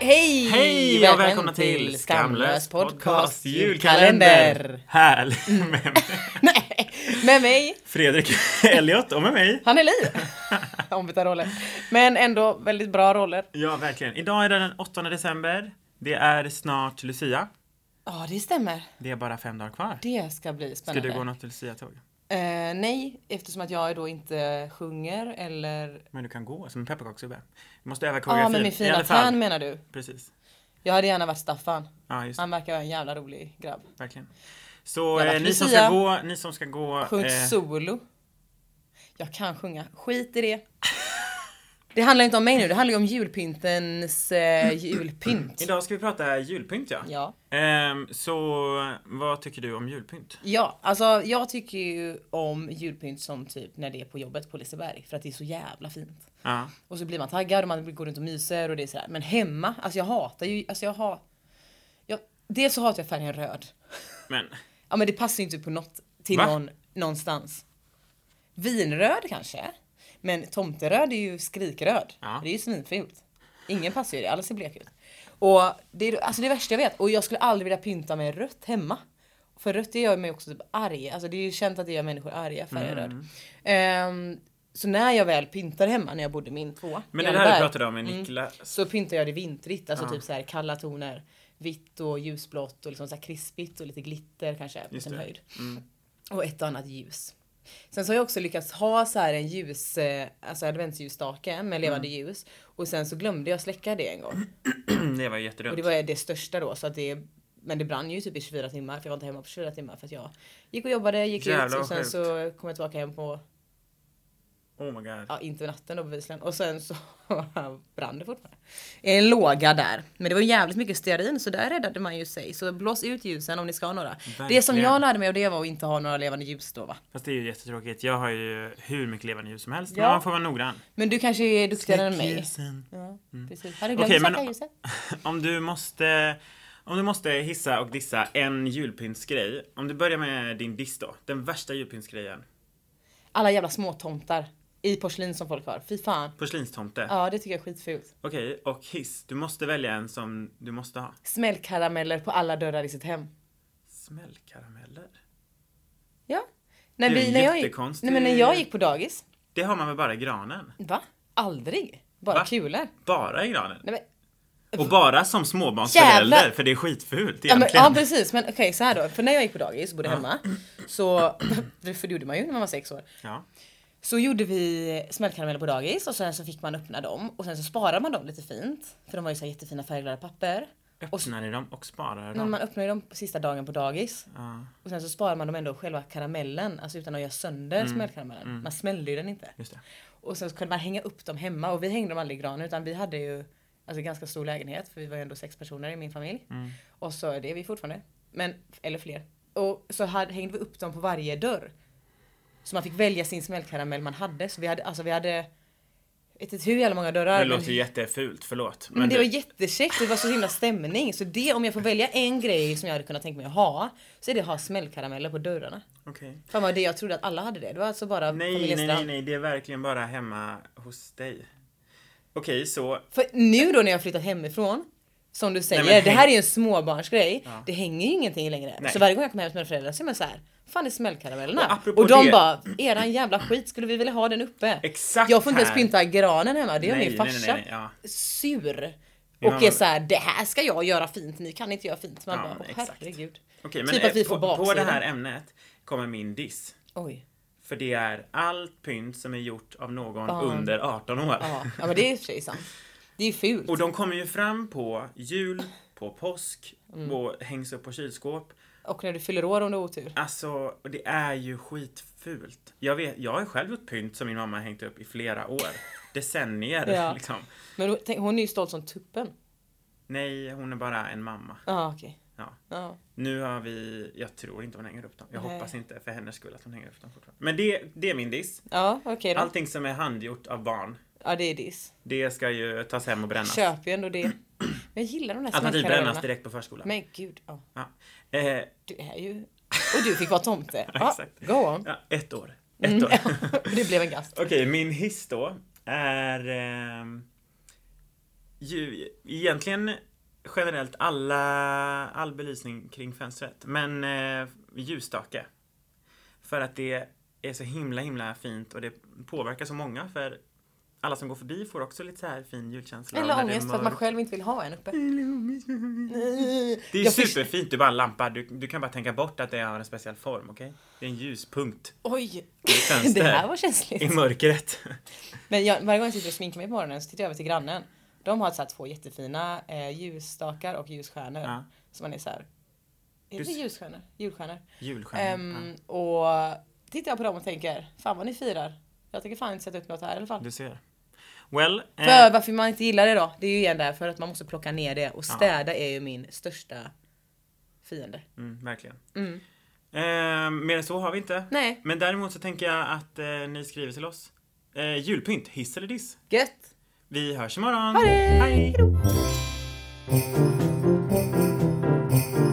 Hej! Hej och välkomna, till Skamlös podcast julkalender! Härligt med Nej, med mig, Fredrik Elliot och med mig. han är liv. Ombytta roller. Men ändå väldigt bra roller. Ja, verkligen. Idag är det den 8 december. Det är snart Lucia. Ja, det stämmer. Det är bara fem dagar kvar. Det ska bli Ska spännande. du gå något Lucia-tåg? Eh, nej, eftersom att jag då inte sjunger eller... Men du kan gå som en pepparkaksgubbe. Du måste öva Ja, ah, koreografin. med min I fina alla fall. fan menar du. Precis. Jag hade gärna varit Staffan. Ja, just det. Han verkar vara en jävla rolig grabb. Verkligen. Så Jävla eh, ni som Lucia. ska gå, ni som ska gå... Sjung solo. Jag kan sjunga. Skit i det. Det handlar inte om mig nu, det handlar ju om julpyntens eh, julpynt. idag ska vi prata julpynt ja. Ja. Ehm, så vad tycker du om julpynt? Ja, alltså jag tycker ju om julpynt som typ när det är på jobbet på Liseberg för att det är så jävla fint. Ja. Och så blir man taggad och man går runt och myser och det är sådär. Men hemma, alltså jag hatar ju, alltså jag har... Jag, dels så hatar jag färgen röd. Men Ja men det passar ju inte på något, till Va? någon, någonstans. Vinröd kanske? Men tomteröd är ju skrikröd. Ja. Det är ju svinfult. Ingen passar ju i det, alla ser blek ut. Och det är alltså det värsta jag vet. Och jag skulle aldrig vilja pynta med rött hemma. För rött det gör mig också typ arg. Alltså det är ju känt att det gör människor arga, färgen röd. Mm. Ehm, så när jag väl pyntar hemma, när jag bodde i min tvåa. Men i det där Anneberg, du pratade om med Mm. Niklas. så pyntar jag det vintrigt, alltså typ så här kalla toner. Vitt och ljusblått och liksom så här krispigt och lite glitter kanske på Just sin det. Mm. höjd. Och ett och annat ljus. Sen så har jag också lyckats ha så här en ljus, eh, alltså adventsljusstake med levande Mm. ljus. Och sen så glömde jag släcka det en gång. det var ju Och jättedumt. det var det största då så att det men det brann ju typ i 24 timmar för jag var inte hemma på 24 timmar för att jag gick och jobbade, gick ut Jävlar vad och sen sjukt. så kom jag tillbaka hem på, Oh my god. ja inte natten då bevisligen och sen så brann det fortfarande. I En låga där. Men det var jävligt mycket stearin så där räddade man ju sig. Så blås ut ljusen om ni ska ha några. Det som Verkligen. jag lärde mig av det var att inte ha några levande ljus då va. Fast det är ju jättetråkigt. Jag har ju hur mycket levande ljus som helst. Ja. Men man får vara noggrann. Men du kanske är duktigare än mig. Ljusen. Ja, precis. Har du glömt Mm. Okej, att men- släcka ljuset? Om du måste... Om du måste hissa och dissa en julpyntsgrej. Om du börjar med din diss då. Den värsta julpyntsgrejen. Alla jävla små tomtar i porslin som folk har. Fy fan. Porslinstomte. Ja, det tycker jag är skitfult. Okej, och hiss. Du måste välja en som du måste ha. Smällkarameller på alla dörrar i sitt hem. Smällkarameller. Ja. När Det är vi, en när jag, gick, nej, jättekonstig- men när jag gick på dagis. Det har man väl bara i granen? Va? Aldrig. Bara Va? kulor. Bara i granen? Nej, men, Och bara som småbarnsförälder, Jävlar! för det är skitfult ja, men, egentligen. ja precis men okej så här då. För när jag gick på dagis och bodde hemma. Så, för det gjorde man ju när man var sex år. Ja. Så gjorde vi smällkarameller på dagis och sen så fick man öppna dem och sen så sparade man dem lite fint. För de var ju så här jättefina färgglada papper. Och Öppnar ni dem och sparar Men dem? man öppnar ju dem på sista dagen på dagis. Ja, Och sen så sparar man dem ändå själva karamellen, alltså utan att göra sönder smällkaramellen. Man smällde ju den inte. just det. Och sen så kunde man hänga upp dem hemma och vi hängde dem aldrig i granen utan vi hade ju alltså ganska stor lägenhet för vi var ju ändå sex personer i min familj. Mm. Och så det är vi fortfarande. Men, eller fler. Och så hade, hängde vi upp dem på varje dörr. Så man fick välja sin smällkaramell man hade. Så vi hade, alltså vi hade, jag vet inte hur jävla många dörrar. Det men- låter ju jättefult, förlåt. men det du- var jättekäckt, det var så himla stämning. Så det, om jag får välja en grej som jag hade kunnat tänka mig att ha, så är det att ha smällkarameller på dörrarna. Okej. Fan vad det jag trodde att alla hade det. Det var alltså bara Nej, familjen nej, nej, Strand. nej, det är verkligen bara hemma hos dig. Okej, så För nu då när jag har flyttat hemifrån, som du säger, Nej, men det häng- här är ju en småbarnsgrej. Det hänger ju ingenting längre. Nej. Så varje gång jag kommer hem till mina föräldrar så är man så här, fan det är Och smällkaramellerna. Och, apropå de det- bara, eran jävla skit, skulle vi vilja ha den uppe? exakt Jag får inte ens här. pynta granen hemma, det gör Nej, min nej, nej, farsa. nej, ja. Sur. Ja, Och är men- så här, det här ska jag göra fint, ni kan inte göra fint. Man Ja, bara, men åh exakt. herregud. Okej, men Typ att vi eh, får på, på det baksidan. här ämnet kommer min diss. Oj. För det är allt pynt som är gjort av någon Barn. under 18 år. Ja, ja men det är i och för sig sant. Det är ju fult. Och de kommer ju fram på jul, på påsk Mm. och hängs upp på kylskåp. Och när du fyller år om du har otur. Alltså, det är ju skitfult. Jag, vet, jag har själv gjort pynt som min mamma har hängt upp i flera år. Decennier Ja. liksom. Men då- tänk, hon är ju stolt som tuppen. Nej, hon är bara en mamma. Ja okej. Ja. Ja. Nu har vi, jag tror inte hon hänger upp dem. Jag Nej. hoppas inte för hennes skull att hon hänger upp dem fortfarande. Men det, det är min diss. Ja okej då. Allting som är handgjort av barn, Ja det är diss. det ska ju tas hem och brännas. Köp ju ändå det. Men jag gillar de där Alternativt brännas smällkaramellerna. direkt på förskolan. Men gud, ja. Ja. Eh, Du är ju... Och du fick vara tomte. Ja, Ja, exakt. go on. ja, ett år. Mm, Ett år. det blev en gast. Okej, min hiss då är ehm, ju egentligen generellt alla, all belysning kring fönstret, men eh, ljusstake. För att det är så himla, himla fint och det påverkar så många för alla som går förbi får också lite så här fin julkänsla. och Eller när det är ångest för att man mörkt. själv inte vill ha en uppe. Det är Jag fick- superfint, du bara lampar. Du, du kan bara tänka bort att det har en speciell form, okej? Det är en ljuspunkt Oj! i ett fönster. Det här var I känsligt. mörkret. Men jag, varje gång jag sitter och sminkar mig på morgonen så tittar jag över till grannen. De har så här två jättefina eh, ljusstakar och ljusstjärnor. Ja. Så man är så här. Är Du det s- ljusstjärnor? Julstjärnor. Julstjärnor. Ehm, och tittar jag på dem och tänker, fan vad ni firar. Jag tänker fan inte sätta upp något här i alla ja, fall. du ser. Well, eh, För varför man inte gillar det då? Det är ju igen därför att man måste plocka ner det och städa är ju min största fiende. mm, verkligen. Eh, mer än så har vi inte. Nej, Men däremot så tänker jag att eh, ni skriver till oss. Eh, julpynt, hiss eller diss? gött! Vi hörs imorgon. Ha det! Hej! Hejdå!